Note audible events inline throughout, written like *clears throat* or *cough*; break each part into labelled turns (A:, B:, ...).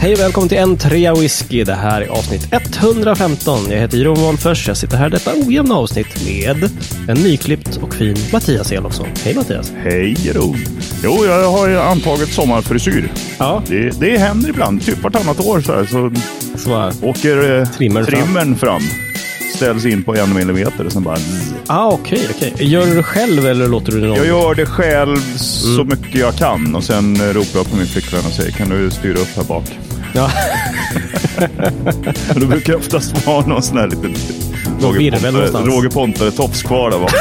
A: Hej och välkommen till en trea whisky. Det här är avsnitt 115. Jag heter Jon Wolffers. Jag sitter här i detta ojämna avsnitt med en nyklippt och fin Mattias Elofsson. Hej Mattias!
B: Hej Ron. Jo, jag har ju antagit sommarfrisyr.
A: Ja,
B: Det, det händer ibland, typ vartannat år så, här, så
A: så bara...
B: åker eh,
A: Trimmer fram.
B: trimmern fram. Ställs in på en millimeter och sen bara... zzz.
A: Ah, okej, okej. Gör du det själv eller låter du någon...
B: Jag gör det själv så
A: Mm.
B: mycket jag kan och sen eh, ropar jag på min flickvän och säger kan du styra upp här bak? *laughs*
A: *laughs* Ja,
B: Då brukar jag oftast vara någon sån här liten... Roger
A: virvel någonstans.
B: Pontare- Roger Pontare-tops
A: *laughs*
B: kvar där bak.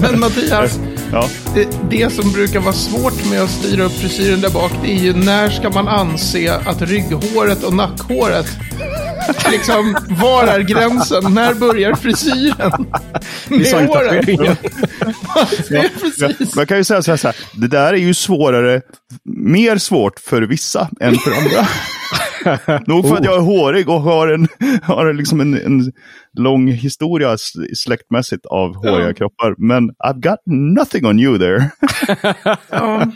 C: Men Mattias,
B: Ja.
C: det, det som brukar vara svårt med att styra upp frisyren där bak, det är ju när ska man anse att rygghåret och nackhåret, liksom, var är gränsen? När börjar frisyren? Med håret?
A: tatueringen.
C: Det är
B: Ja,
C: *laughs* precis.
B: Man kan ju säga så här, så här, det där är ju svårare, mer svårt för vissa än för
C: *laughs*
B: andra. Nog
C: Oh.
B: för att jag är hårig och har en, har liksom en, en lång historia s- släktmässigt av håriga kroppar. Men I've got nothing on you there.
C: Ja.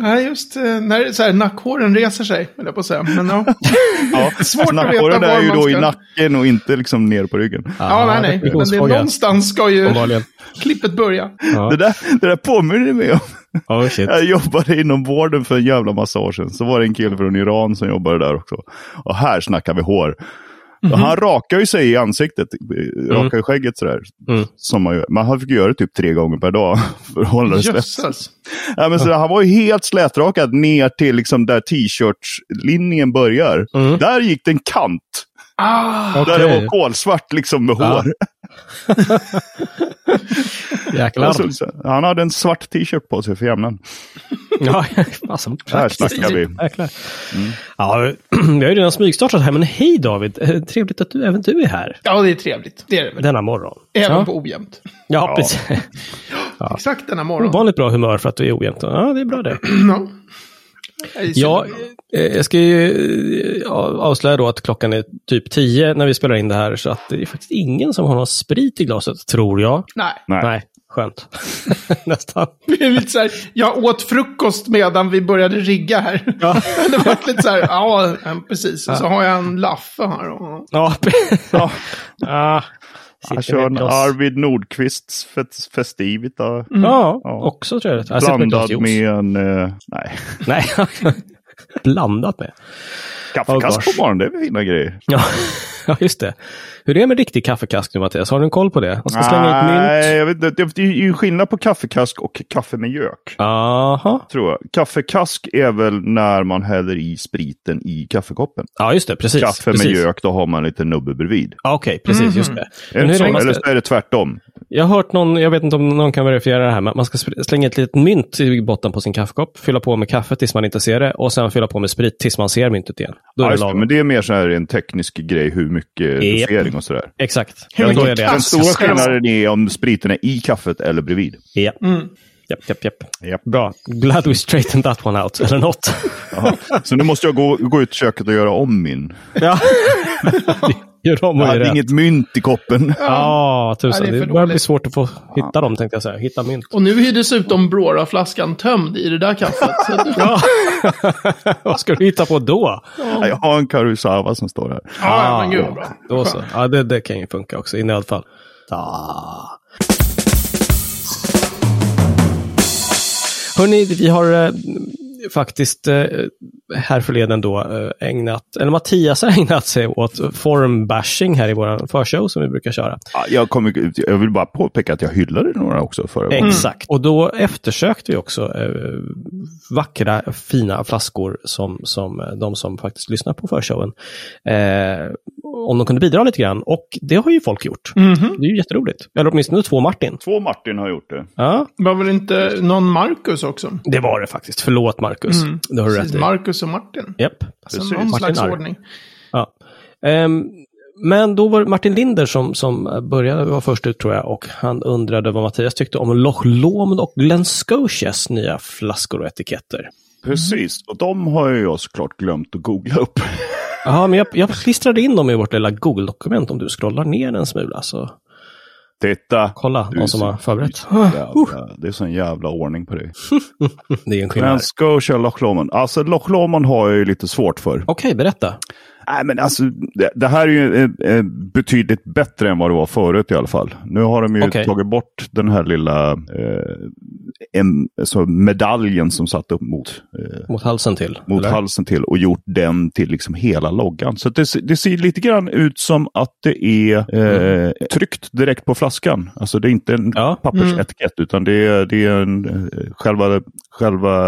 C: Nej, just eh, när det är så här, nackhåren reser sig, höll jag på att säga. Men, *laughs* ja.
B: *laughs* Ja,
C: Svårt att veta
B: Nackhåren
C: var
B: är ju
C: man
B: då i
C: ska-
B: nacken och inte liksom ner på ryggen.
C: ja, nej, nej. Men det, är
A: Definitionsfråga.
C: någonstans ska ju
A: Uppenbarligen.
C: klippet börja.
A: Ja.
B: Det, där, det där påminner mig om
A: Oh, shit.
B: Jag jobbade inom vården för en jävla massa år sedan. Så var det en kille från Iran som jobbade där också. Och här snackar vi hår.
A: Mhm.
B: Och han rakar ju sig i ansiktet, eh, rakar ju skägget sådär.
A: Mm.
B: Som man, gör. men han fick göra det typ tre gånger per dag *laughs* för att hålla det slätt.
C: Jösses.
B: Ja, men så där, han var ju helt slätrakad ner till liksom där t-shirtslinjen börjar.
A: Mm.
B: Där gick det en kant.
C: Ah,
A: Okej,
B: Där det var kolsvart liksom med
A: Ja,
B: hår. *laughs*
A: jäklar.
B: Och Alltså, så- han hade en svart t-shirt på sig för jämnan.
A: Ja, *laughs* fasen.
B: Här snackar vi.
A: Jäklar. Ja, vi *clears throat* har ju redan smygstartat här, men hej David! Eh, Trevligt att du, även du är här
C: ja, det är trevligt. Det är det väl.
A: denna morgon.
C: Även
A: ja.
C: på ojämnt.
A: Ja,
B: Ja.
A: precis. *laughs*
C: Exakt denna morgon.
A: Ovanligt bra humör för att du är ojämnt. Ja, det är bra det.
C: Ja. Jag gissar
A: Ja,
C: det bra.
A: eh, jag ska ju eh, av- avslöja då att klockan är typ 10 när vi spelar in det här, så att det är faktiskt ingen som har någon sprit i glaset, tror jag.
C: Nej.
B: Nej.
A: skönt. *laughs* Nästan.
C: Det är lite så här, jag åt frukost medan vi började rigga här.
A: Ja.
C: *laughs* Det var lite så här, ja, ja, precis. Och så har jag en laffe här. och-
A: Ja.
B: Ja.
A: ah, sitter
B: Han kör
A: med ett
B: en
A: glas. Mm.
B: Arvid Nordqvists fest- Festivita.
A: Ja,
B: Ja.
A: också tror jag det. Jag sitter med ett glas
B: Blandad
A: juice.
B: med en... eh, nej,
A: Nej, *laughs* blandat med.
B: kaffekask
A: gosh.
B: på morgonen, det är väl fina grejer.
A: Ja, ja, just det. Hur är det med riktig kaffekask nu Mattias? Har du en koll på det? Man ska slänga ut mynt.
B: Nej, jag vet inte. Det är ju skillnad på kaffekask och kaffe med gök.
A: Aha.
B: Tror jag. Kaffekask är väl när man häller i spriten i kaffekoppen.
A: Ja, just det. Precis.
B: Kaffe
A: precis.
B: med gök, då har man lite nubbe bredvid.
A: Ja, Okej, precis. Just det.
B: Är det
A: hur
B: så?
A: man ska-
B: Eller så är det tvärtom.
A: Jag har hört någon, jag vet inte om någon kan verifiera det här, men man ska sp- slänga ett litet mynt i botten på sin kaffekopp, fylla på med kaffe tills man inte ser det och sen fylla på med sprit tills man ser myntet igen. Då är
B: Ja,
A: det
B: just det,
A: lagom.
B: men det är mer så här en teknisk grej, hur mycket
A: Japp.
B: dosering och sådär.
A: Exakt.
C: Hur
A: Men då
C: mycket
A: är det.
B: Den
C: kask?
B: stora
C: Ska det vara-
B: skillnaden är om spriten är i kaffet eller bredvid.
A: Ja.
C: Mm.
A: Japp, japp, japp.
B: Japp.
A: Bra. Glad we straightened that one out, eller
B: *laughs*
A: något.
B: Jaha. Så nu måste jag gå, gå ut i köket och göra om min.
A: ja. *laughs* Gör om och
B: Jag
A: gör
B: hade
A: rätt.
B: inget mynt i koppen.
A: Ja, tusan.
C: Ja, det är
A: det,
C: för
A: börjar bli
C: dåligt.
A: svårt att få hitta dem, tänkte jag säga. Hitta mynt.
C: Och nu är dessutom Brora-flaskan tömd i det där kaffet. Så att du, ja,
A: *laughs* Vad ska du hitta på då?
B: Ja, *laughs* Jag har en Karuisawa som står här.
C: ja, men gud vad bra.
A: Då så. Ja, det, det kan ju funka också, i nödfall. Ah. Hörni, vi har eh, faktiskt eh, här förleden då eh, ägnat, eller Mattias har *laughs* ägnat sig åt formbashing här i vår förshow som vi brukar köra.
B: Ja, Jag, kommer, ut- jag vill bara påpeka att jag hyllade några också förra gången.
A: Exakt. Mm. Och då eftersökte vi också eh, vackra, fina flaskor som, som eh, de som faktiskt lyssnar på förshowen, eh, om de kunde bidra lite grann. Och det har ju folk gjort.
C: Mhm.
A: Det är ju jätteroligt. Eller åtminstone två Martin.
B: Två Martin har gjort det.
A: Ja,
C: Var väl inte någon Marcus också?
A: det var det faktiskt. Förlåt Marcus.
C: Mm.
A: Det har du rätt
C: Precis,
A: i.
C: Marcus och Martin.
A: Japp.
C: Alltså,
B: precis.
C: någon
A: Martin
C: slags
A: Arv.
C: ordning.
A: Ja. Ehm, men då var det Martin Linder som, som började, var först ut tror jag, och han undrade vad Mattias tyckte om Loch Lomond och Glen Scotias nya flaskor och etiketter.
B: Precis, och de har ju jag såklart glömt att googla upp. *laughs*
A: Ja, men jag, jag klistrade in dem i vårt lilla Google-dokument om du scrollar ner en smula. Så.
B: Titta!
A: Kolla
B: Du är
A: vad som
B: så-
A: har förberett.
B: Jävla, det är sån jävla ordning på dig.
A: Det är en skillnad.
B: Men ska och köra Loch Lomond. Alltså Loch Lomond har jag ju lite svårt för.
A: Okej, berätta.
B: Nej, men alltså, det, det här är ju eh, eh, betydligt bättre än vad det var förut i alla fall. Nu har de ju
A: Okej.
B: tagit bort den här lilla eh, en, alltså medaljen som satt upp mot, eh,
A: Mot halsen till.
B: mot
A: eller?
B: halsen till och gjort den till liksom hela loggan. Så att det, se- det ser lite grann ut som att det är eh, tryckt direkt på flaskan. Alltså det är inte en
A: Mm. Ja. Mm.
B: pappersetikett utan det är, det är en, eh, själva, själva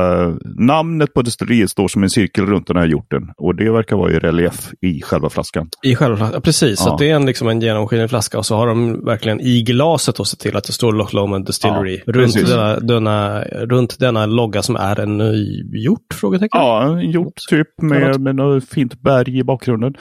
B: namnet på destilleriet står som en cirkel runt den här hjorten. Och det verkar vara i relief i själva flaskan.
A: I själva flaskan, ja, precis. Så
B: Ja.
A: att det är en, liksom en genomskinlig flaska och så har de verkligen i glaset och sett till att det står Loch Lomond Distillery
B: Ja,
A: runt,
B: precis.
A: denna, denna, runt denna logga som är en nygjort? Frågetecken.
B: Ja, en hjort typ med, med något fint berg i bakgrunden.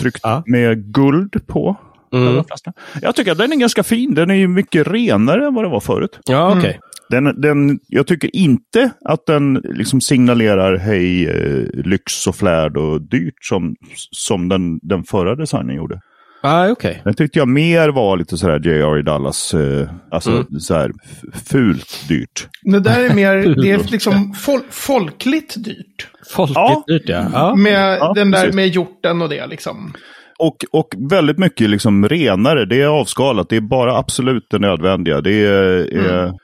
B: Tryckt
A: Ja.
B: med guld på.
A: Mm.
B: själva flaskan. Jag tycker att den är ganska fin. Den är ju mycket renare än vad den var förut.
A: Ja, okej.
B: Den, den, jag tycker inte att den liksom signalerar hej eh, lyx och flärd och dyrt som, som den, den förra designen gjorde.
A: Ah, okej.
B: Den tyckte jag mer var lite sådär J.R. Dallas, eh, alltså såhär f- fult dyrt.
C: Det där är mer,
A: *laughs*
C: det är liksom fol folkligt dyrt.
A: Folkligt
B: Ja.
A: dyrt, ja. ja.
C: Med
B: Ja,
C: den där
B: precis.
C: med hjorten och det liksom.
B: Och, och väldigt mycket liksom renare, det är avskalat, det är bara absolut det nödvändiga. Det är, är, eh,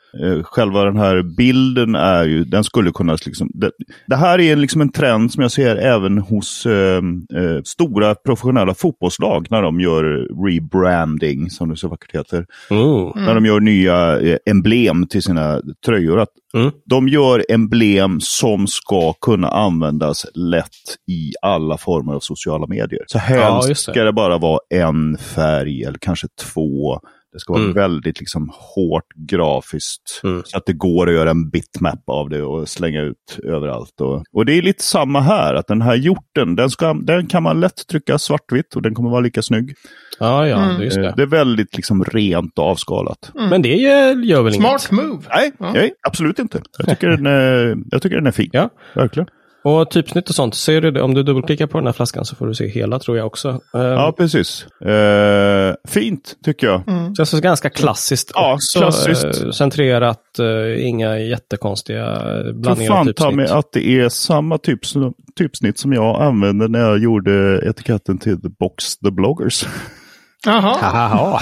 B: Själva den här bilden är ju, den skulle kunna liksom... Det, det här är liksom en trend som jag ser även hos eh, eh, stora professionella fotbollslag när de gör rebranding, som det så vackert heter.
A: Mm.
B: när de gör nya eh, emblem till sina tröjor. Att
A: Mm.
B: De gör emblem som ska kunna användas lätt i alla former av sociala medier. Så helst
A: just det.
B: ska det bara vara en färg eller kanske två. Det ska vara
A: Mm.
B: väldigt liksom, hårt grafiskt.
A: Mm.
B: Så att det går att göra en bitmap av det och slänga ut överallt. Och, och det är lite samma här, att den här hjorten, den, ska, den kan man lätt trycka svartvitt och den kommer vara lika snygg.
A: Ja, ja, just det.
B: Eh, Det är väldigt liksom, rent och avskalat.
A: Men det gör väl inget?
C: Smart move.
B: Nej,
C: Ja.
B: nej, absolut inte.
A: *laughs*
B: Jag tycker den är, jag tycker den är fin.
A: Ja.
B: Verkligen.
A: Och typsnitt och sånt, ser du det, om du dubbelklickar på den här flaskan så får du se hela tror jag också. Ehm, Ja.
B: Ja, precis. Eh, fint, tycker jag.
A: Känns så ganska klassiskt
B: Ja,
A: också.
B: klassiskt.
A: eh, Centrerat, eh, inga jättekonstiga eh,
B: För
A: blandningar av
B: fan ta mig
A: typsnitt.
B: att det är samma typs, typsnitt som jag använde när jag gjorde etiketten till The Box The Bloggers. *laughs*
C: Jaha.
A: Haha.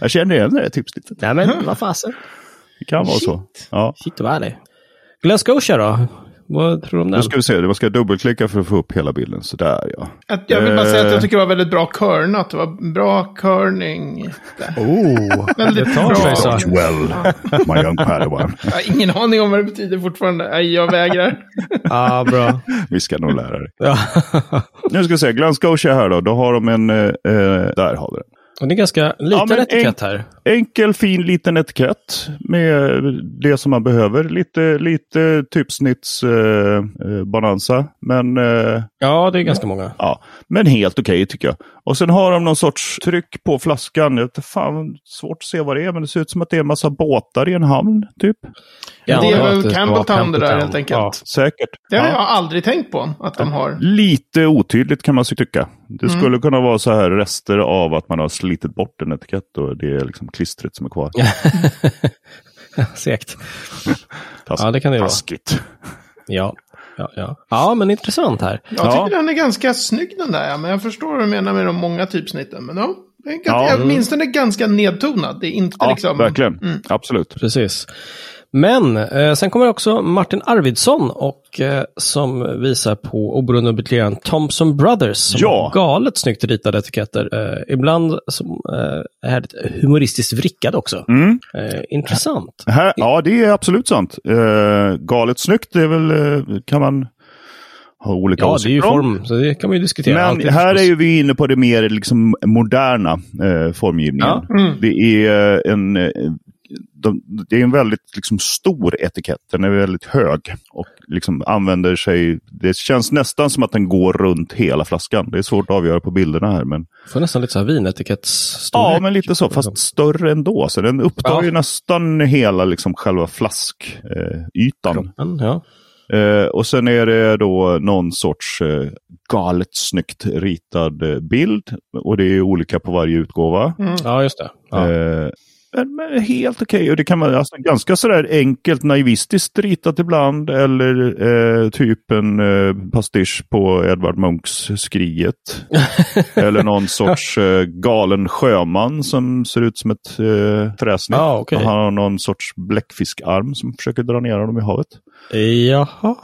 B: Jag känner igen det här typsnittet.
A: Nej men vad fasen.
B: Det kan vara så. Ja.
A: Shit vad är det? Glenn Scotia då? Vad tror du om den?
B: Nu ska vi se, man ska dubbelklicka för att få upp hela bilden. Sådär ja.
C: Att- Jag vill bara säga att
B: Eh.
C: jag tycker det var väldigt bra körnat. Det var bra körning.
A: Oh,
C: Väldigt bra.
A: sig, sa han.
B: Well, my young padawan.
C: Jag har ingen aning om vad det betyder fortfarande. Nej, jag vägrar.
A: ah, bra.
B: Vi ska nog lära dig.
A: Ja.
B: Nu ska vi se, Glenn Scotia här då. Då har de en... Eh, eh, där har vi den.
A: Och det är ganska liten
B: men en-
A: etikett här.
B: Enkel fin liten etikett med det som man behöver. Lite, lite typsnittsbalansa. men, eh,
A: Ja, det är ganska många.
B: ja. men helt okej tycker jag. Och sen har de någon sorts tryck på flaskan. Jag vet inte fan, svårt att se vad det är, men det ser ut som att det är en massa båtar i en hamn. typ.
A: Ja,
C: det är väl
A: att ska
C: Campbelltown
A: vara
C: det där,
A: Campbelltown.
C: helt enkelt.
A: Ja.
B: Säkert.
C: Det har
B: Ja.
C: jag aldrig tänkt på att de har.
B: Lite otydligt kan man så tycka. Det
A: Mm.
B: skulle kunna vara så här rester av att man har slitit bort en etikett och det är liksom klistret som är kvar.
A: *laughs* Segt.
B: Tas-
A: Ja, det kan det ju vara.
B: Taskigt.
A: Ja. Ja, ja. ja, men intressant här.
C: Jag
B: Ja.
C: tycker den är ganska snygg den där, ja. men jag förstår vad du menar med de många typsnitten. Men ja, den är
B: Ja.
C: ganska, åtminstone ganska nedtonad. Det är inte
B: Ja,
C: liksom...
B: verkligen.
A: Mm.
B: Absolut.
A: Precis. Men eh, sen kommer också Martin Arvidsson och eh, som visar på oberoende buteljaren Thomson Brothers som
B: Ja.
A: har galet snyggt ritade etiketter. Eh, ibland som, eh, är det humoristiskt vrickade också.
B: Mm.
A: Eh, intressant.
B: Här, ja, det är absolut sant. Eh, galet snyggt, det är väl, eh, kan man ha olika
A: Ja, det är ju
B: om.
A: form, så det kan man ju diskutera.
B: Men
A: Alltid
B: här är
A: förstås.
B: ju vi inne på det mer liksom moderna eh, formgivningen.
A: Ja.
B: Det är eh, en... eh, De, det är en väldigt liksom, stor etikett. Den är väldigt hög och liksom använder sig... Det känns nästan som att den går runt hela flaskan. Det är svårt att avgöra på bilderna här. Men,
A: Får nästan lite så här vinetikettsstorlek.
B: ja, men lite så. Fast större ändå. Så den upptar
A: liksom. Ja.
B: ju nästan hela liksom, själva flaskytan. Eh, ytan.
A: Men, ja.
B: Eh, och sen är det då någon sorts eh, galet snyggt ritad eh, bild. Och det är olika på varje utgåva.
A: Ja, just det. Ja.
B: Eh, men, men helt okej. Och det kan vara alltså, ganska sådär enkelt naivistiskt ritat ibland. Eller eh, typ en eh, pastisch på Edvard Munchs
A: *laughs*
B: Skriet. eller någon sorts eh, galen sjöman som ser ut som ett eh, träsnitt.
A: Ah, okej.
B: Och Han har någon sorts bläckfiskarm som försöker dra ner honom i havet.
A: Jaha.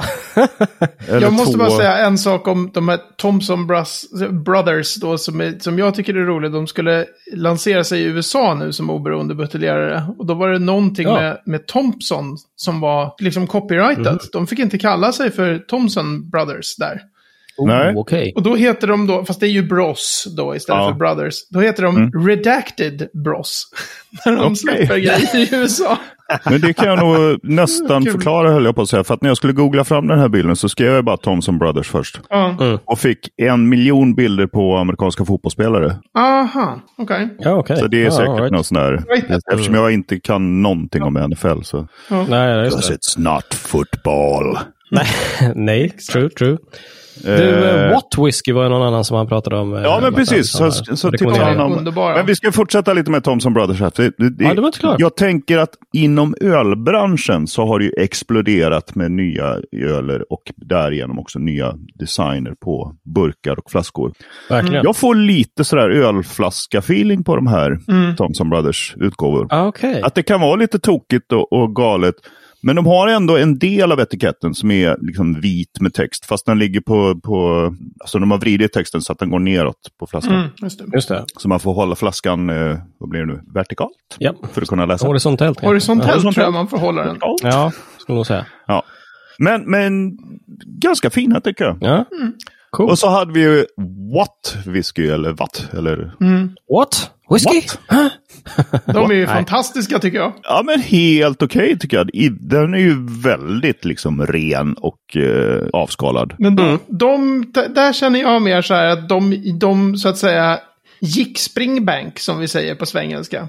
B: Eller
C: Jag måste
B: två-
C: bara säga en sak om de här Thomson Bros- Brothers då som, är, som jag tycker är roligt. De skulle lansera sig i USA nu som oberoende buteljerare. Och då var det någonting
A: Ja.
C: med, med Thompson som var liksom copyrightat.
B: Mm.
C: De fick inte kalla sig för Thomson Brothers där.
B: Nej.
A: Oh, okej.
C: Och då heter de då, fast det är ju Bros då istället
B: Ja. Mm.
C: för Brothers. Då heter de Redacted Bros. *laughs* När de
B: Okej.
C: släpper
B: *laughs*
C: grejer i USA.
B: Men det kan jag
C: *laughs*
B: nog nästan
C: Kul.
B: förklara höll jag på att säga. För att när jag skulle googla fram den här bilden så skrev jag bara Thomson Brothers först.
C: Ja.
B: Och fick en miljon bilder på amerikanska fotbollsspelare.
C: Aha, okej.
A: Ja, okej.
B: Så det är
A: ja,
B: säkert
A: all right.
B: något sånt där.
C: Right.
B: Eftersom jag inte kan någonting om NFL så.
A: Nej, nej, just
B: Because it's not football.
A: det. nej, *laughs* true, true. Du, eh, What Whiskey var ju någon annan som han pratade om. eh,
B: Ja, men
A: Martin
B: precis.
A: Andersson
B: Så,
A: här.
B: så
A: Rekommenderar
B: tittar
A: jag.
B: han om.
C: Underbara.
B: Men vi ska fortsätta lite med Thomson Brothers. Här. för Det, det,
A: Ja, det var inte klart.
B: jag tänker att inom ölbranschen så har det ju exploderat med nya öler och därigenom också nya designer på burkar och flaskor.
A: Verkligen.
B: Jag får lite sådär ölflaska-feeling på de här
C: Mm.
B: Thomson Brothers-utgåvor.
A: Ah, Okej.
B: Att det kan vara lite tokigt och, och galet. Men de har ändå en del av etiketten som är liksom vit med text. Fast den ligger på... på alltså de har vridit texten så att den går neråt på flaskan.
C: Mm, just det.
A: Just det.
B: Så man får hålla flaskan, eh, vad blir det nu, vertikalt?
A: Ja.
B: För att kunna läsa.
A: Horisontellt. kanske.
C: Horisontellt
B: Horisontellt.
C: tror jag man får hålla den.
B: Vertikalt.
A: Ja, Ja, skulle jag nog säga.
B: Ja. Men, men ganska fina tycker jag.
A: Ja. Cool.
B: Och så hade vi ju What Whisky, eller Watt, eller
A: What? Whiskey?
B: What?
C: De är ju
A: Nej.
C: fantastiska tycker jag.
B: Ja, men helt okej tycker jag. I- Den är ju väldigt liksom ren och eh, avskalad.
C: Men de, de, d- där känner jag mer så här att de, de så att säga gick springbank som vi säger på svengelska.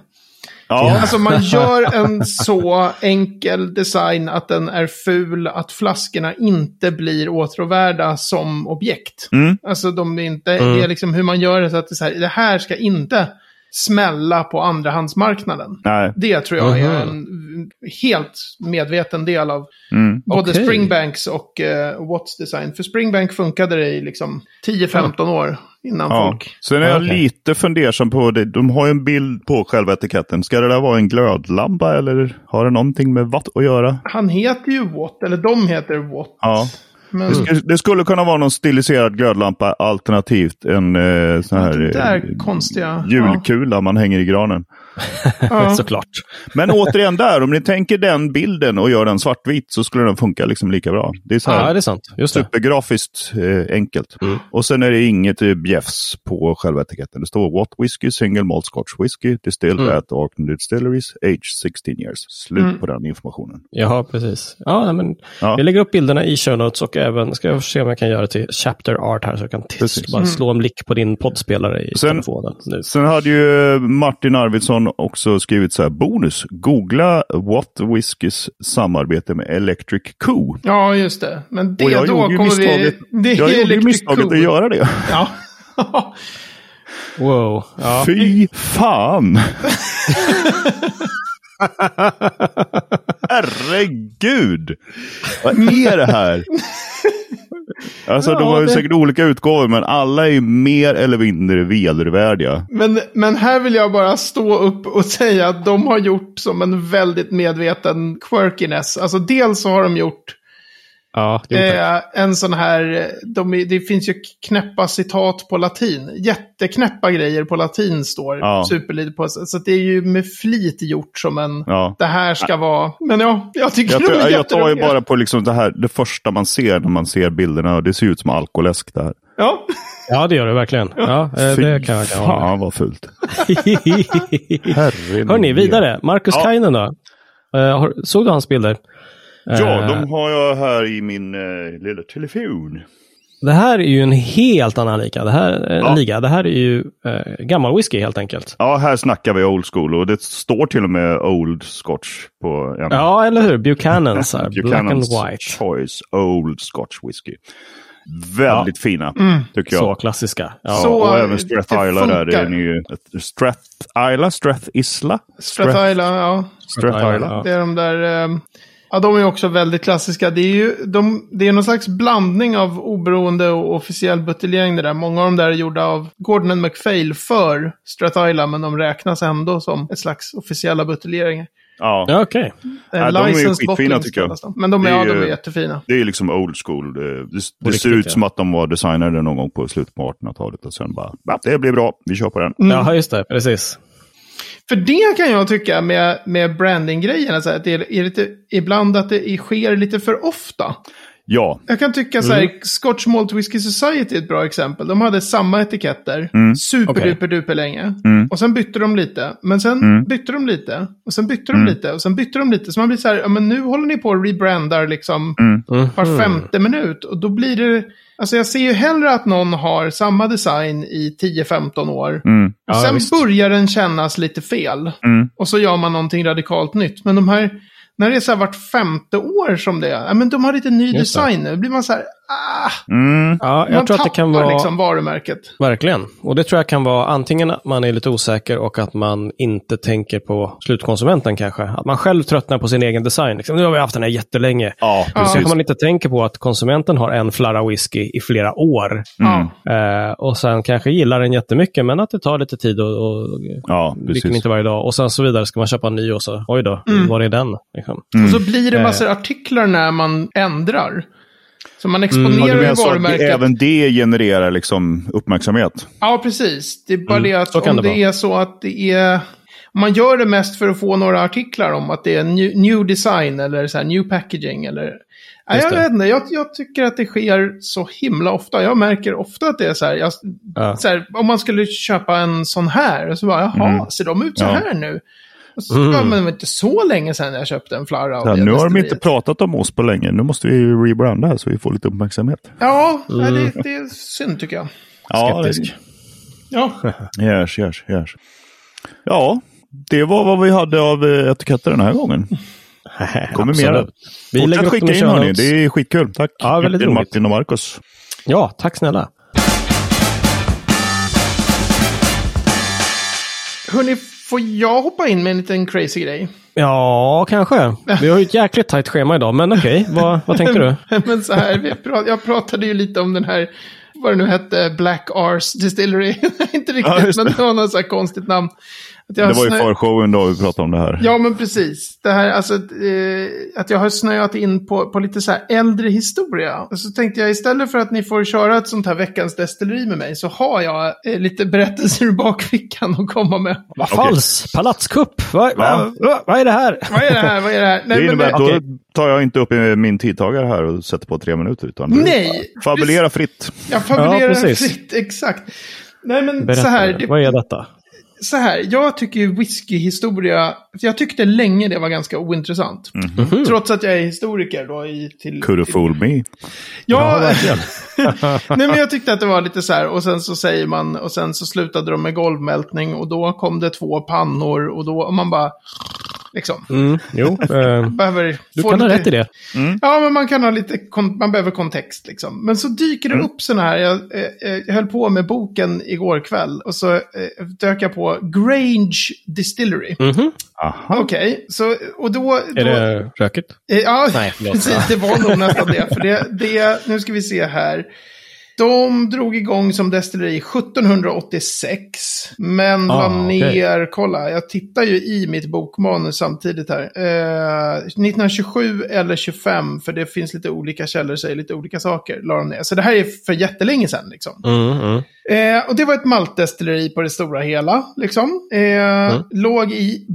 B: Ja,
C: Alltså man gör en så enkel design att den är ful, att flaskorna inte blir åtråvärda som objekt. Alltså de är inte, det är liksom hur man gör det så att det, är så här, det här ska inte smälla på andrahandsmarknaden.
B: nej.
C: Det tror jag är
A: Mhm.
C: en helt medveten del av
B: Mm.
C: både
A: Okej.
C: Springbanks och eh, Watts design. För Springbank funkade det i liksom 10-15 år innan
B: Ja.
C: folk...
B: Sen är jag
A: Okej.
B: lite fundersam på det. De har ju en bild på själva etiketten. Ska det där vara en glödlampa eller har det någonting med vatt att göra?
C: Han heter ju Watt, eller de heter Watt.
B: Ja.
C: Men
B: Det, skulle, det skulle kunna vara någon stiliserad glödlampa alternativt en eh, sån här
C: det
B: eh,
C: där konstiga...
B: julkula man hänger i granen.
C: Ja, ja.
A: *laughs* Såklart.
B: Men återigen där, om ni tänker den bilden och gör den svartvit så skulle den funka liksom lika bra. Det är så här,
A: Ja, det är sant. Just
B: Typ.
A: det.
B: supergrafiskt eh, enkelt.
C: Mm.
B: Och sen är det inget eh, bjäfs på själva etiketten. Det står What Whiskey Single Malt Scotch Whiskey Distilled
C: Mm.
B: at Arkton Distilleries Age 16 years. Slut på den informationen.
A: Jaha, precis. Ja, nej, men
B: Ja.
A: Jag lägger upp bilderna i show notes och även, ska jag se om jag kan göra till chapter art här så jag kan titta,
B: Precis. Mm.
A: bara slå en blick på din poddspelare i
B: Sen-
A: telefonen. Nu.
B: Sen hade ju eh, Martin Arvidsson också skrivit så här, bonus, googla What Whiskys samarbete med Electric Coo.
C: just det. Men det
B: Och jag
C: då
B: gjorde ju
C: kommer vi...
B: misstaget, jag gjorde ju
C: Electric
B: misstaget
C: Cool.
B: att göra det.
C: Ja. *laughs*
A: Wow. Ja.
B: Fy fan! Herregud! Vad är det här? Alltså, de har ju
A: det-
B: säkert olika utgåvor, men alla är ju mer eller mindre vedervärdiga.
C: Men, men här vill jag bara stå upp och säga att de har gjort som en väldigt medveten quirkiness. Alltså dels så har de gjort
A: Ja, jo, tack.
C: eh, en sån här, eh, de, är- det finns ju knäppa citat på latin. Jätteknäppa grejer på latin står
B: Ja.
C: superlite på. Så så att det är ju med flit gjort som en,
B: Ja.
C: det här ska vara, men ja, jag tycker
B: Jag,
C: de är
B: tar- jag tar ju
C: jätteroliga.
B: bara på liksom det, här, det första man ser när man ser bilderna. och Det ser ut som alkoläsk det här.
C: Ja,
A: ja, det gör det verkligen. Ja, eh, det kan jag kan jag hålla
B: fan vad fult.
A: med.
B: Herre
A: Hörni,
B: min
A: vidare. Marcus
B: Ja.
A: Kainen då? Eh, har- såg du hans bilder?
B: Ja,
A: Eh,
B: de har jag här i min eh, lilla telefon.
A: Det här är ju en helt annan liga. Det här, eh,
B: Ja.
A: liga. Det här är ju eh, gammal whisky helt enkelt.
B: Ja, här snackar vi old school och det står till och med old scotch på en.
A: Ja, eller hur? Buchanans här. Black and
B: *laughs* Buchanan's
A: White.
B: Choice Old Scotch Whisky. Väldigt fina, tycker jag.
A: Så klassiska. Ja.
B: Ja,
C: Mm. Så, eh,
B: och även
C: det
B: Strath Isla där.
C: funkar.
B: Den är ju ett- Strath Isla? Strath Isla?
C: Strath Island, ja.
B: Strath
A: Strath
B: Isla.
A: Isla, ja.
C: Det är de där... ehm, Ja, de är också väldigt klassiska. Det är ju de, det är någon slags blandning av oberoende och officiell buteljering det där. Många av de där är gjorda av Gordon and MacPhail för Strath Island, men de räknas ändå som ett slags officiella buteljeringar.
B: Ja.
A: Ja, okej.
C: Eh,
B: Ja, de är ju
C: licensed
B: skitfina,
C: bottlings
B: tycker jag.
C: kallas de. Men de,
B: Det
C: är,
B: är
C: ja, de
B: ju-
C: är jättefina.
B: Det är ju liksom old school. Det, det, det
A: riktigt,
B: ser ut
A: ja.
B: som att de var designade någon gång på slutet på 1800-talet och sen bara, "Va, det blir bra, vi kör på den.
C: Mm.
A: Ja, just det. Precis.
C: För det kan jag tycka med, med branding-grejerna, så här, att det är, är lite, ibland att det är- sker lite för ofta.
B: Ja,
C: Jag kan tycka så här,
B: Mm.
C: Scotch Malt Whisky Society är ett bra exempel. De hade samma etiketter
B: Mm.
C: superduperduper länge. Och sen bytte de lite, men sen
B: Mm.
C: bytte de lite. Och sen bytte de lite, och sen bytte de lite. Så man blir så här, ja men nu håller ni på och rebrandar liksom
B: Mm.
A: Mm.
C: var femte minut. Och då blir det, alltså jag ser ju hellre att någon har samma design i 10-15 år.
B: Mm.
C: Och
A: Ja,
C: sen
A: visst.
C: börjar den kännas lite fel. Och så gör man någonting radikalt nytt. Men de här, när det är så här vart femte år som det är, ja, men de har lite ny
A: Just det.
C: design nu. Då blir man så här, ah,
B: mm,
A: Ja,
C: man
A: jag tror att
C: tappar
A: det kan vara...
C: liksom varumärket.
A: Verkligen. Och det tror jag kan vara antingen att man är lite osäker och att man inte tänker på slutkonsumenten kanske. Att man själv tröttnar på sin egen design. Liksom, nu har vi haft den här jättelänge.
B: ja
A: Sen
B: precis.
A: kanske man inte tänker på att konsumenten har en flarra whisky i flera år.
C: Ja.
A: Eh, och sen kanske gillar den jättemycket men att det tar lite tid och, och
B: Ja,
A: dricker den
B: precis. Mm.
A: inte varje dag. Och sen så vidare ska man köpa en ny och så, oj då, var är den? Liksom.
C: Och så blir det
A: Eh.
C: massor artiklar när man ändrar. Så man
A: Mm,
B: Ja, du
C: exponerar ju
B: menar så att
C: varumärket.
B: det, även det genererar liksom uppmärksamhet?
C: Ja, precis. Det är bara det att
A: så kan
C: om
A: det
C: det,
A: vara.
C: är så att det är... Om man gör det mest för att få några artiklar om att det är new, new design eller så här new packaging eller... Nej,
A: Just
C: jag
A: det.
C: vet inte, jag, jag tycker att det sker så himla ofta. Jag märker ofta att det är så här, jag,
A: Ja.
C: så här om man skulle köpa en sån här, så bara, jaha, ser de ut så
B: Ja.
C: här nu? Och så, ja, men det var inte så länge sedan jag köpte en flarra av
B: Ja,
C: det
B: nu har de inte
C: destilleriet.
B: pratat om oss på länge, nu måste vi rebranda här så vi får lite uppmärksamhet.
C: Ja, nej, det, det är synd tycker jag.
B: Ja, det-
A: Skeptisk.
C: Ja,
B: Yes, yes, yes. Ja, det var vad vi hade av eh, etiketter den här gången. kommer
A: Absolut.
B: mera.
A: Vi lägger
B: Fortsätt
A: upp
B: skicka
A: dem i
B: in
A: show
B: hörni,
A: notes.
B: det är skitkul. Tack
A: Ja, väldigt
B: Martin,
A: roligt.
B: Martin och Marcus.
A: Ja, tack snälla.
C: hörni, får jag hoppa in med en liten crazy grej?
A: Ja, kanske. Vi har ju ett jäkligt tajt schema idag, men okej, vad, vad tänkte
C: *laughs*
A: du?
C: Men så här, vi pra- jag pratade ju lite om den här, vad det nu hette, Black Ars Distillery. *laughs* inte
B: Ja,
C: riktigt,
B: just det.
C: men det var något så här konstigt namn. Att jag
B: Det var ju
C: snö-
B: förshowen då vi pratade om det här.
C: Ja, men precis. Det här, alltså, att, eh, att jag har snöat in på, på lite så här äldre historia. Och så tänkte jag, istället för att ni får köra ett sånt här veckans destilleri med mig, så har jag eh, lite berättelser ur bakfickan att komma med.
A: Vad fals! Palatskupp! Vad va, va, vad är det här?
C: Vad är det här? Vad är det här? Nej,
B: Det
C: men
B: innebär att
C: det-
B: då
A: Okej.
B: tar jag inte upp eh, min tidtagare här och sätter på tre minuter. Utan du-
C: Nej!
B: Fabulera fritt.
C: Jag fabulerar
A: Ja, precis.
C: fritt, exakt. Nej, men
A: Berätta,
C: så här.
A: nu.
C: det-
A: vad är detta?
C: så här, jag tycker ju whiskyhistoria, jag tyckte länge det var ganska ointressant.
A: Mhm.
C: Trots att jag är historiker då i till...
B: Could have fooled me.
C: Ja, *laughs* nej men jag tyckte att det var lite så här, och sen så säger man, och sen så slutade de med golvmältning och då kom det två pannor och då, och man bara, liksom,
A: Mm,
C: *laughs*
A: jo, eh,
C: behöver...
A: du
C: få
A: kan ha
C: lite-
A: rätt i det.
C: Ja, men man kan ha lite, kon- man behöver kontext liksom. Men så dyker det upp sådana här, jag, eh, eh, jag höll på med boken igår kväll och så eh, dök jag på Grange Distillery.
A: Mhm.
B: Aha.
C: Okej, så, och då... då
A: Är det rökigt?
C: eh, ja,
A: Nej, förlåt.
C: *laughs* precis, det var nog nästan det. För det, det, nu ska vi se här. De drog igång som destilleri 1786, men
A: Ah,
C: var
A: okej.
C: ner, kolla, jag tittar ju i mitt bokmanus samtidigt här. Eh, 1927 eller 25, för det finns lite olika källor, säger lite olika saker, la de ner. Så det här är för jättelänge sedan liksom.
A: Mm, mm.
C: Eh, och det var ett maltdestilleri på det stora hela. Liksom. Eh,
A: Mm.
C: Låg i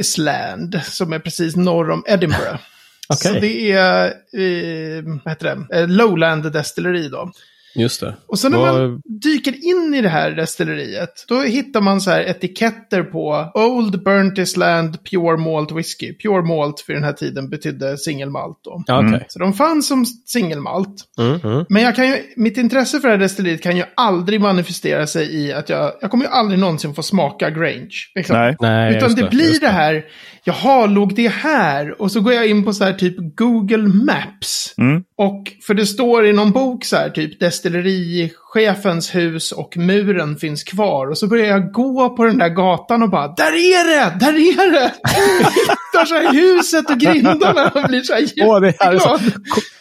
C: Burntisland, som är precis norr om Edinburgh.
A: *laughs* Okej.
C: Så det är, eh, vad heter det, eh, Lowland destilleri då.
A: Just det.
C: Och sen när
A: Vad-
C: man dyker in i det här destilleriet, då hittar man så här etiketter på Old Burnt Island Pure Malt Whiskey. Pure Malt för den här tiden betydde singelmalt då.
A: Ja, okej.
C: Så de fanns som singelmalt.
A: Mm, mm.
C: Men jag kan ju, mitt intresse för det här destilleriet kan ju aldrig manifestera sig i att jag, jag kommer ju aldrig någonsin få smaka Grange. Liksom.
B: Nej.
A: Nej,
C: Utan
A: just
C: det, blir
A: just
C: det här, jaha, låg det här? Och så går jag in på så här typ Google Maps.
B: Mm.
C: Och för det står i någon bok så här typ destillerichefens hus och muren finns kvar. Och så börjar jag gå på den där gatan och bara, där är det! Där är det! *laughs* Jag Hittar så här huset och grindarna och blir så här
A: Åh, det här är så
C: jätteglad.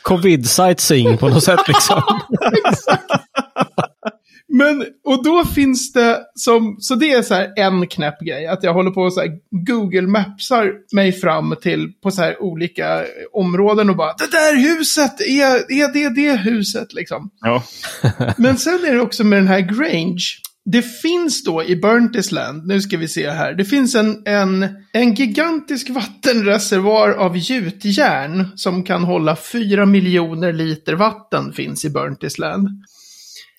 A: co- covid-sightseeing på något sätt
C: *laughs*
A: liksom.
C: Men, och då finns det som, så det är så här en knäpp grej, att jag håller på och så här Google Mapsar mig fram till på så här olika områden och bara, det där huset, är, är det det huset liksom?
B: Ja.
C: Men sen är det också med den här Grange. Det finns då i Burntisland, nu ska vi se här, det finns en, en, en gigantisk vattenreservoar av gjutjärn som kan hålla 4 miljoner liter vatten finns i Burntisland.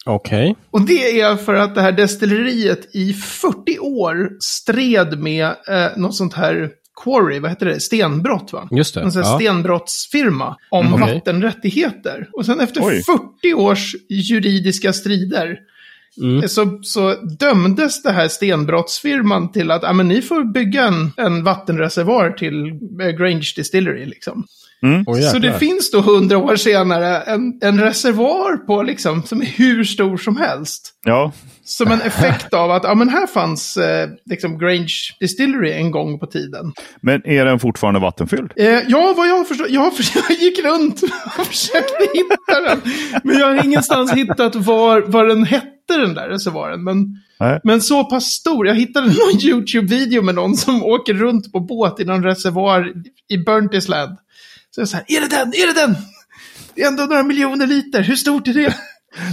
A: Okej.
C: Och det är för att det här destilleriet i 40 år stred med eh, något sånt här quarry, vad heter det, stenbrott va?
A: Just det,
C: En sån här
A: ja. Mm.
C: stenbrottsfirma om
A: okej.
C: vattenrättigheter. Och sen efter
B: Oj.
C: 40 års juridiska strider
A: Mm.
C: eh, så, så dömdes det här stenbrottsfirman till att ah, men ni får bygga en, en vattenreservoar till eh, Grange Distillery liksom.
A: Åh,
C: Så det
A: jäklar.
C: finns då hundra år senare en, en reservoar på liksom, som är hur stor som helst.
B: Ja.
C: Som en effekt av att, ja men här fanns eh, liksom Grange Distillery en gång på tiden.
B: Men är den fortfarande vattenfylld?
C: Eh, ja, vad jag förstår, jag, har förs- *laughs* jag gick runt och försökte hitta den. Men jag har ingenstans hittat var, vad den hette den där reservoaren. Men,
B: Nej.
C: men så pass stor, jag hittade *laughs* någon YouTube-video med någon som åker runt på båt i någon reservoar i Burntisland. Så jag så här, är det den, är det den? Det är ändå några miljoner liter, hur stort är det?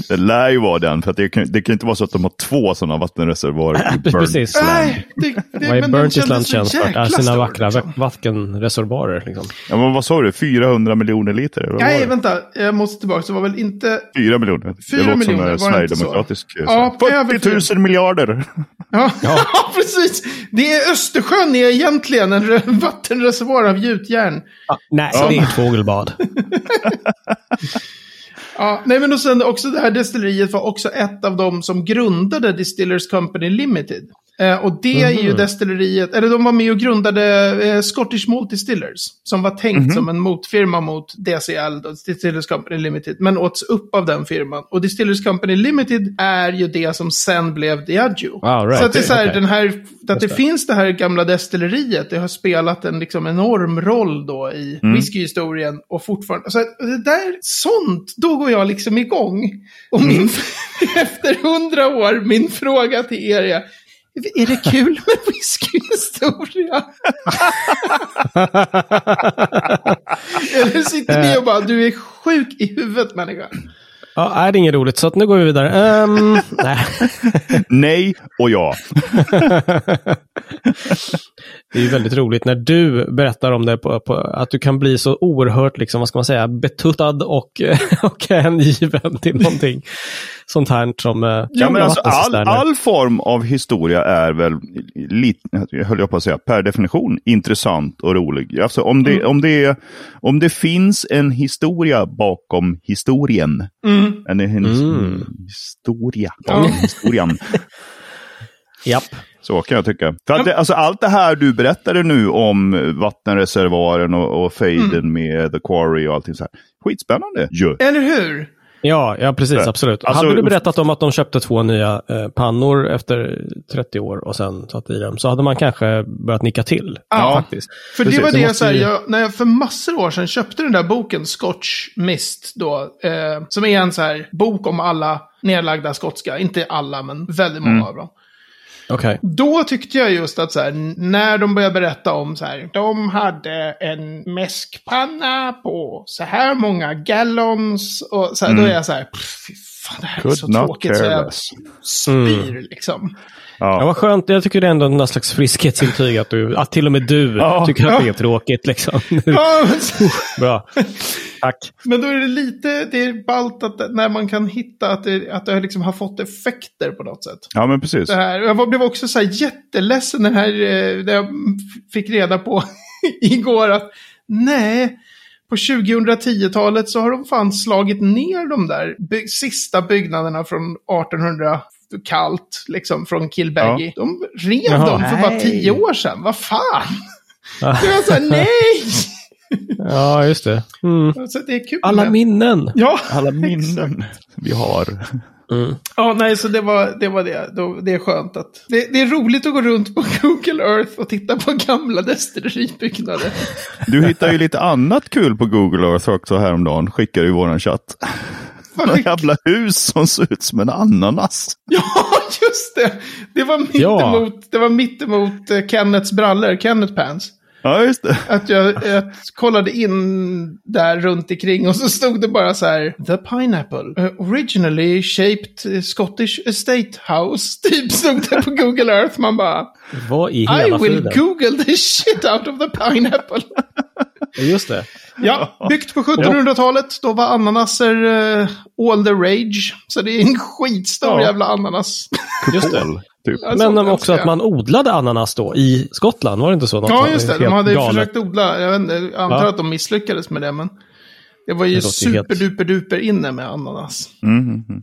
B: Det lär ju vara den, för att det kan, det kan inte vara så att de har två sådana vattenreservoarer i Burn.
A: Precis.
C: Nej, det, det,
A: Vad är
C: men den
A: Burntisland
C: kändes så
A: känd för?
C: jäkla
A: Är sina
C: stor,
A: vackra
C: liksom.
A: va- vattenreservoarer. Liksom.
B: Ja, men vad sa du? 400 miljoner liter? eller vad var
C: Nej,
B: det?
C: vänta. Jag måste tillbaka. Det var väl inte...
B: 4 miljoner.
C: Fyra
B: det låter
C: miljoner, var det
B: som en
C: inte så?
B: sverigedemokratisk...
C: Ja, över fyra.
B: 40 000 miljarder! *laughs*
C: Ja, *laughs* ja. precis. Det är Östersjön är egentligen en re- *laughs* vattenreservoar av gjutjärn.
A: Ah, nej, det är ett fågelbad.
C: Ja, nej, men och sen också det här destilleriet var också ett av dem som grundade Distillers Company Limited. Eh, och det är ju
A: Mhm.
C: destilleriet, eller de var med och grundade eh, Scottish Malt Distillers, som var tänkt som en motfirma mot DCL, då, Distillers Company Limited, men åts upp av den firman. Och Distillers Company Limited är ju det som sen blev Diageo.
A: Wow, right.
C: Så att det, är så här,
A: Okej.
C: den här, att det
A: det.
C: finns det här gamla destilleriet, det har spelat en liksom enorm roll då i
A: Mm.
C: whiskyhistorien och fortfarande. Så att det där, sånt, då går jag liksom igång. Och
A: Mm.
C: min, *laughs* efter hundra år, min fråga till er är, är det kul med
A: *laughs*
C: whiskyhistoria? Eller sitter ni och bara, du är sjuk i huvudet människa.
A: *laughs* Ja, nej, det är inget roligt, så att nu går vi vidare. Ehm, nej.
B: Nej och ja.
A: Det är ju väldigt roligt när du berättar om det, på, på, att du kan bli så oerhört, liksom, vad ska man säga, betuttad och, *laughs* och hängiven till någonting sånt här som eh,
B: Ja, men
A: gamla
B: alltså, all,
A: vattencisterner.
B: all form av historia är väl, lite, höll jag på att säga, per definition intressant och rolig. Alltså, om,
C: Mm.
B: det, om, det, är- om det finns en historia bakom historien. En, en
A: Mm.
B: historia
C: Ja.
B: bakom historien.
A: Japp.
B: Så kan jag tycka. För att det, alltså, allt det här du berättade nu om vattenreservoaren och, och fejden
C: Mm.
B: med The Quarry och allting så här. Skitspännande ju.
C: Eller hur?
A: Ja, ja, precis,
B: Så.
A: absolut.
B: Alltså-
A: hade du berättat om att de köpte två nya eh, pannor efter 30 år och sen satt i dem, så hade man kanske börjat nicka till.
C: Ja.
A: faktiskt.
C: För
B: Precis,
C: det var
A: det
C: det jag,
A: måste
C: så här,
A: ju-
C: jag, när jag för massor av år sedan köpte den där boken Scotch Mist då, eh, som är en så här bok om alla nedlagda skotska, inte alla men väldigt många
B: Mm.
C: av dem.
A: Okej.
C: Då tyckte jag just att så här, n- när de började berätta om så här, de hade en mäskpanna på så här många gallons och så här, då är jag så här, "Pff, fy fan det här är
B: Mm. Could
C: så
B: not
C: tråkigt så
B: care
C: jag
B: less." Mm.
C: spyr liksom.
A: Ja, vad skönt. Jag tycker det är ändå någon slags friskhetsintyg att, du, att till och med du *laughs*
B: Ja.
A: tycker att det är tråkigt. Liksom.
C: Ja, men så-
A: Bra. Tack.
C: Men då är det lite, det är ballt att när man kan hitta att det, att det liksom har fått effekter på något sätt.
B: Ja, men precis.
C: Det här. Jag var- blev också så här jätteledsen den här, eh, när jag fick reda på *laughs* igår att nej, på 2010-talet så har de fan slagit ner de där by- sista byggnaderna från 1800 kallt, liksom från Kilbaggy. De rev
A: Jaha.
C: dem för bara
A: Nej.
C: tio år sedan, vad fan! Det var
A: *laughs*
C: så här, nej!
A: Ja, just det. Mm.
C: Så det är kul.
A: Alla
C: med-
A: minnen.
C: Ja. *laughs*
B: Alla minnen vi har.
C: Ja, nej, så det var det. Var det. Då, det är skönt att... Det, det är roligt att gå runt på *laughs* Google Earth och titta på gamla destilleribyggnader.
B: Du hittar ju lite annat kul på Google Earth också häromdagen. Skickar i våran chatt. *laughs* Några jävla hus som ser ut som en ananas.
C: *laughs* Ja, just det! Det var
A: Ja.
C: mittemot, det var mittemot eh, Kenneths brallor, Kenneth Pants.
B: Ja, just det.
C: Att
A: Ah.
C: jag, jag kollade in där runt omkring och så stod det bara så här. The Pineapple. eh, originally shaped eh, Scottish Estate House. *laughs* Typ stod det på Google Earth. Man bara.
A: Vad i
C: I
A: hela
C: will
A: friden?
C: Google the shit out of the pineapple.
A: Just det.
C: Ja, byggt på 1700-talet. Då var ananaser eh, all the rage. Så det är en skitstor
B: Ja.
C: jävla ananas.
A: Just det.
B: Kupol, typ.
C: Alltså, Jag såg
A: Men
C: den,
A: också att
C: ja.
A: man odlade ananas då i Skottland, var det inte så? Något
C: Ja,
A: sånt?
C: just det. De
A: Helt
C: hade ju
A: galet.
C: försökt odla. Jag, vet inte, jag antar
A: Ja.
C: att de misslyckades med det, men det var ju
A: Det låter ju helt-
C: superduperduper inne med ananas.
B: Mm, mm, mm.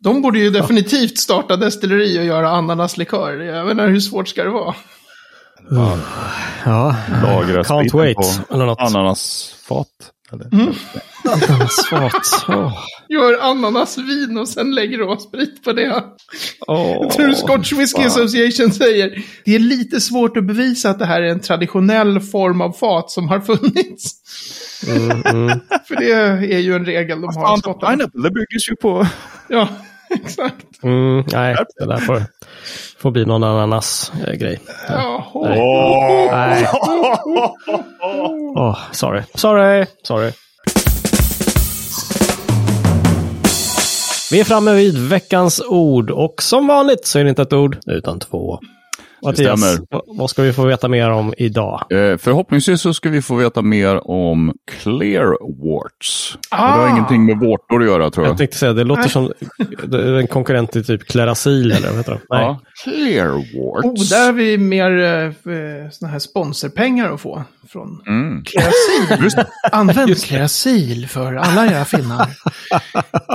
C: De borde ju definitivt starta destilleri och göra ananaslikör. Jag menar, hur svårt ska det vara?
A: Mm. Ja.
B: Lagra
A: Can't
B: spriten
A: wait,
B: på
A: eller något.
B: Ananasfat. Eller?
C: Mm.
A: Ananasfat. Åh.
C: Gör ananasvin och sen lägger råsprit på det. Jag *laughs*
A: Åh.
C: tror Scotch Whisky Association säger. Det är lite svårt att bevisa att det här är en traditionell form av fat som har funnits.
B: *laughs*
A: Mm,
C: För det är ju en regel de har i Skottland.
B: Pineapple, det byggdes ju på...
C: Ja, *laughs* exakt.
A: Mm, nej, det där får, får bli någon ananas-grej.
C: Jaha.
A: Nej. Åh, sorry. Sorry. Sorry. Vi är framme vid veckans ord och som vanligt så är det inte ett ord utan två. Mattias,
B: stämmer.
A: vad- vad ska vi få veta mer om idag?
B: Eh, förhoppningsvis så ska vi få veta mer om clear warts. Och Det har
C: Ah.
B: ingenting med vårtor att göra tror
A: Jag
B: jag.
A: tänkte säga, det låter som det är en konkurrent till typ Clarasil eller vad heter de? Nej.
B: Ja, clear warts.
C: Oh, där har vi mer eh, såna här sponsorpengar att få från
B: Mm. *laughs*
C: Kreasil.
B: Just det.
C: Använd Kreasil för alla
B: *laughs*
C: era finnar.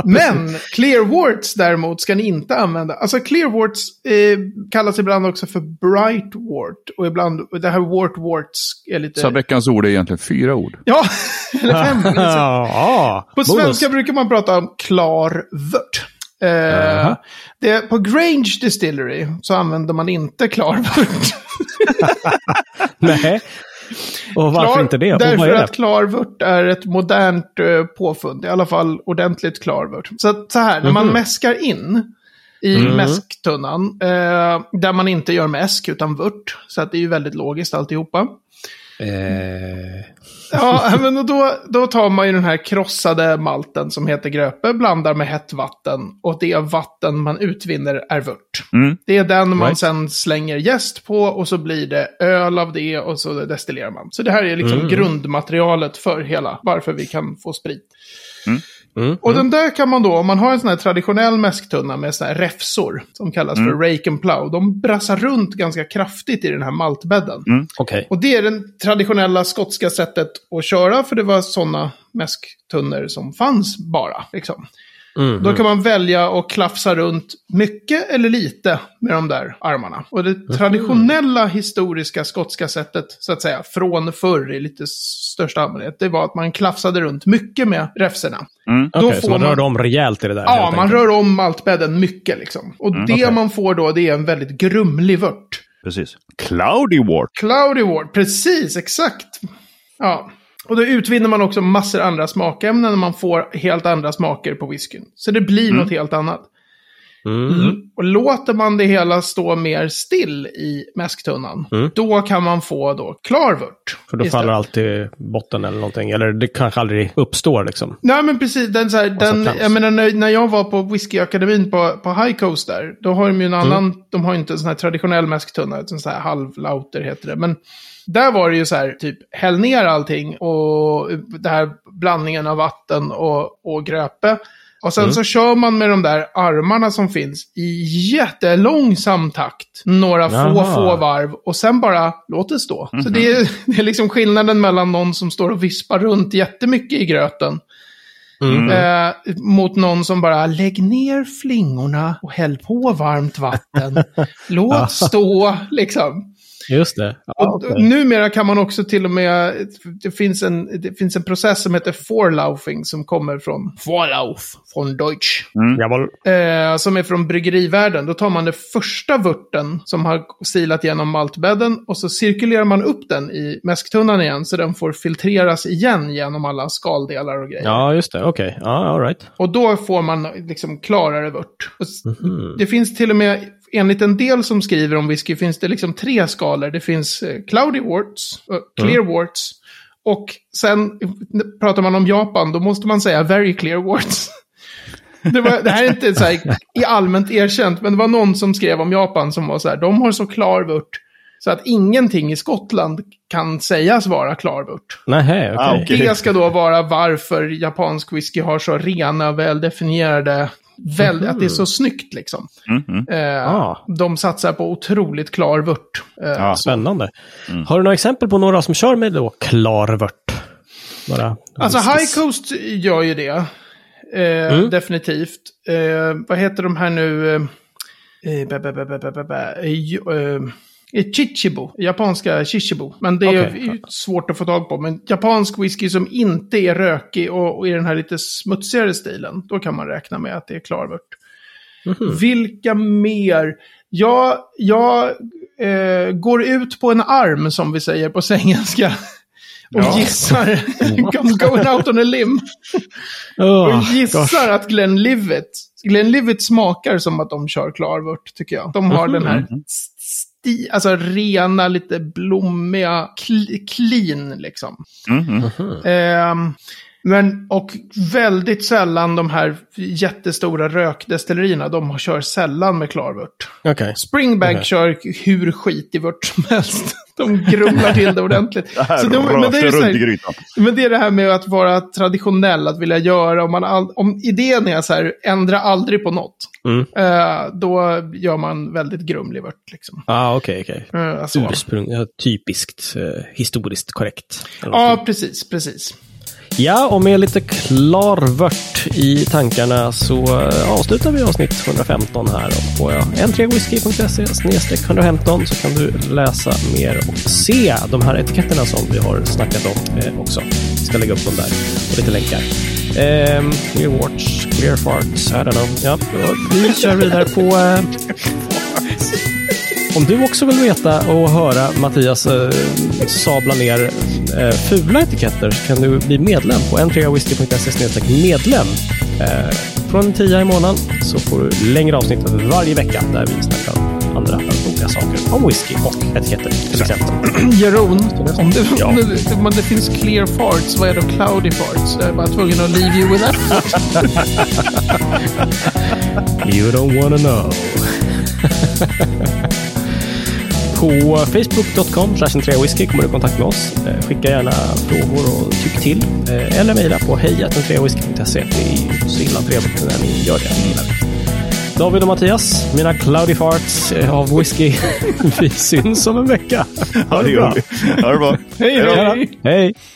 C: Men Clearwarts däremot ska ni inte använda. Alltså Clearwarts eh, kallas ibland också för Brightwort. Och ibland, och det här Wartwarts är lite...
B: Så veckans ord är egentligen fyra ord.
C: Ja, *laughs* eller fem. eller så.
A: Ja,
C: På
A: bonus.
C: svenska brukar man prata om klar vört. Eh,
A: Jaha.
C: det, på Grange Distillery så använder man inte klar vört.
A: Nej. Och *laughs* varför
C: Klar-
A: inte det? Och
C: Därför
A: vad är det?
C: att klarvört är ett modernt eh, påfund, i alla fall ordentligt klarvört. Så, att, så här, när man
A: Mhm.
C: mäskar in i
A: Mm.
C: mäsktunnan, eh, där man inte gör mäsk utan vört, så att det är ju väldigt logiskt alltihopa.
A: Eh,
C: Ja, men och då, då tar man ju den här krossade malten som heter gröpe, blandar med hett vatten och det vatten man utvinner är vört.
B: Mm.
C: Det är den man
A: Right.
C: sen slänger jäst på och så blir det öl av det och så destillerar man. Så det här är liksom
A: Mm.
C: grundmaterialet för hela, varför vi kan få sprit.
A: mm,
C: Och den där kan man då, om man har en sån här traditionell mäsktunna med såna här räfsor, som kallas
A: Mm.
C: för rake and plow, de brassar runt ganska kraftigt i den här maltbädden.
A: Okej.
C: Och det är det traditionella skotska sättet att köra, för det var sådana mäsktunnor som fanns bara. Liksom.
A: Mm,
C: Då kan man välja att klafsa runt mycket eller lite med de där armarna. Och
A: Mm.
C: det traditionella historiska skotska sättet, så att säga, från förr i lite största allmänhet, det var att man klafsade runt mycket med räfsorna.
B: Mm.
A: Okej,
C: då
A: så
C: får
A: man rör
C: man-
A: om rejält i det där?
C: Ja,
A: helt
C: man
A: enkelt. Mm,
C: rör om maltbädden mycket liksom. Och det
A: okej.
C: man får då, det är en väldigt grumlig vört.
B: Precis. Cloudy wart.
C: Cloudy Ward, precis, exakt. Ja. Och då utvinner man också massor andra smakämnen och man får helt andra smaker på whiskyn. Så det blir något helt annat.
A: Mm.
C: Och låter man det hela stå mer still i mäsktunnan,
A: Mm.
C: då kan man få då klarvört.
A: För då
C: istället.
A: faller allt till botten eller någonting. Eller det kanske aldrig uppstår liksom.
C: Nej men precis, den, så här, den,
A: trams.
C: jag menar, när, när jag var på whiskyakademin på, på High Coast där, då har de ju en annan, de har ju inte en sån här traditionell mäsktunna, utan sån här halvlauter heter det. Men där var det ju så här, typ häll ner allting och det här blandningen av vatten och, och gröpe. Och sen så kör man med de där armarna som finns i jättelångsam takt. Några få,
A: Jaha.
C: få varv och sen bara låt det stå. Så det är, *laughs* det är liksom skillnaden mellan någon som står och vispar runt jättemycket i gröten
A: Mm.
C: eh, mot någon som bara lägg ner flingorna och häll på varmt vatten.
A: *laughs*
C: låt stå liksom.
A: Just det. Ja,
C: Och
A: okej.
C: Numera kan man också till och med, det finns en, det finns en process som heter Vorlaufing som kommer från Vorlauf, från Deutsch.
A: Jawohl.
C: Eh, som är från bryggerivärlden. Då tar man den första vörten som har silat genom maltbädden och så cirkulerar man upp den i mäsktunnan igen så den får filtreras igen genom alla skaldelar och grejer.
A: Ja, just det. Okej. Ja, all right.
C: Och då får man liksom klarare vört. Och s-
A: Mhm.
C: Det finns till och med, enligt en del som skriver om whisky, finns det liksom tre skalor. Det finns eh, cloudy warts, eh, clear warts och sen eh, pratar man om Japan, då måste man säga very clear warts. *laughs* Det, var, det här är inte så här, i allmänt erkänt, men det var någon som skrev om Japan som var så här, de har så klar vört så att ingenting i Skottland kan sägas vara klar vört.
A: Nähä, okej.
B: Ah, okej.
C: Det ska då vara varför japansk whisky har så rena, väldefinierade, väl, att det är
B: Mhm.
C: så snyggt liksom. Eh,
A: Ah.
C: De satsar på otroligt klar vört. Eh,
B: Ja.
A: Spännande. Har du några exempel på några som kör med då klarvört? Några
C: Alltså High Coast gör ju det. Eh,
B: Mm.
C: Definitivt. Eh, vad heter de här nu? Eh, eh, ba, ba, ba, ba, ba, ba, ba, eh, jo- eh, eh, Chichibu, japanska Chichibu. Men det är
A: Okej.
C: ju svårt att få tag på. Men japansk whisky som inte är rökig och, och i den här lite smutsigare stilen, då kan man räkna med att det är klarvört. Vilka mer? Jag, jag eh, går ut på en arm, som vi säger på svengelska. Och
B: Ja.
C: gissar, I'm going out on a limb.
A: Oh,
C: Och gissar att Glenn Livet, Glenn Livet smakar som att de kör klarvört, tycker jag. De har den här sti, alltså rena, lite blommiga, kl- clean liksom.
B: Mm,
C: Ehm, men, och väldigt sällan de här jättestora rökdestillerierna, de kör sällan med klarvört.
A: Okej.
C: Springbank
A: Okej.
C: kör hur skitig vört som helst. *laughs* De grumlar till det ordentligt.
B: Det här
C: Så de- men det är
B: rörde
C: ju så här-
B: runt i grytan.
C: men det är det här med att vara traditionell, att vilja göra. Om, man all, om idén är så här, ändra aldrig på något,
A: Mm.
C: eh, då gör man väldigt grumlig vört. Liksom.
A: Ah, okej, okej.
C: Eh, så.
A: Ursprung, ja, typiskt, eh, historiskt korrekt. Eller
C: Ja, precis, precis. *clears throat*
A: Ja, och med lite klarvört i tankarna så eh, avslutar vi avsnitt 115 här. Och på entrewhisky.se snedstreck 115 så kan du läsa mer och se de här etiketterna som vi har snackat om eh, också. Vi ska lägga upp dem där och lite länkar. Ehm, clear watch, clear farts, I don't know. Ja, och vi kör vidare på eh, om du också vill veta och höra Mattias eh, sabla ner eh, fula etiketter så kan du bli medlem på entreawhisky.se medlem. Eh, från en tia i månaden så får du längre avsnitt varje vecka där vi snackar om andra roliga saker om whisky och etiketter till exempel.
C: Jeroen, om det, *laughs*
A: Ja.
C: om det, om det finns clear farts, vad är då cloudy farts? Jag är bara tvungen att leave you with that.
A: You don't wanna know. *laughs* På facebook.com entreawhisky kommer du i kontakt med oss. Eh, Skicka gärna frågor och tyck till. Eh, Eller mejla på hejatentreawhisky.se. Det är ju så himla trevligt när ni gör det. Det gillar vi. David och Mattias, mina cloudy farts eh, av whisky. *laughs* Vi syns om en vecka.
B: Ja, det gör vi. Ha det bra.
A: Hej!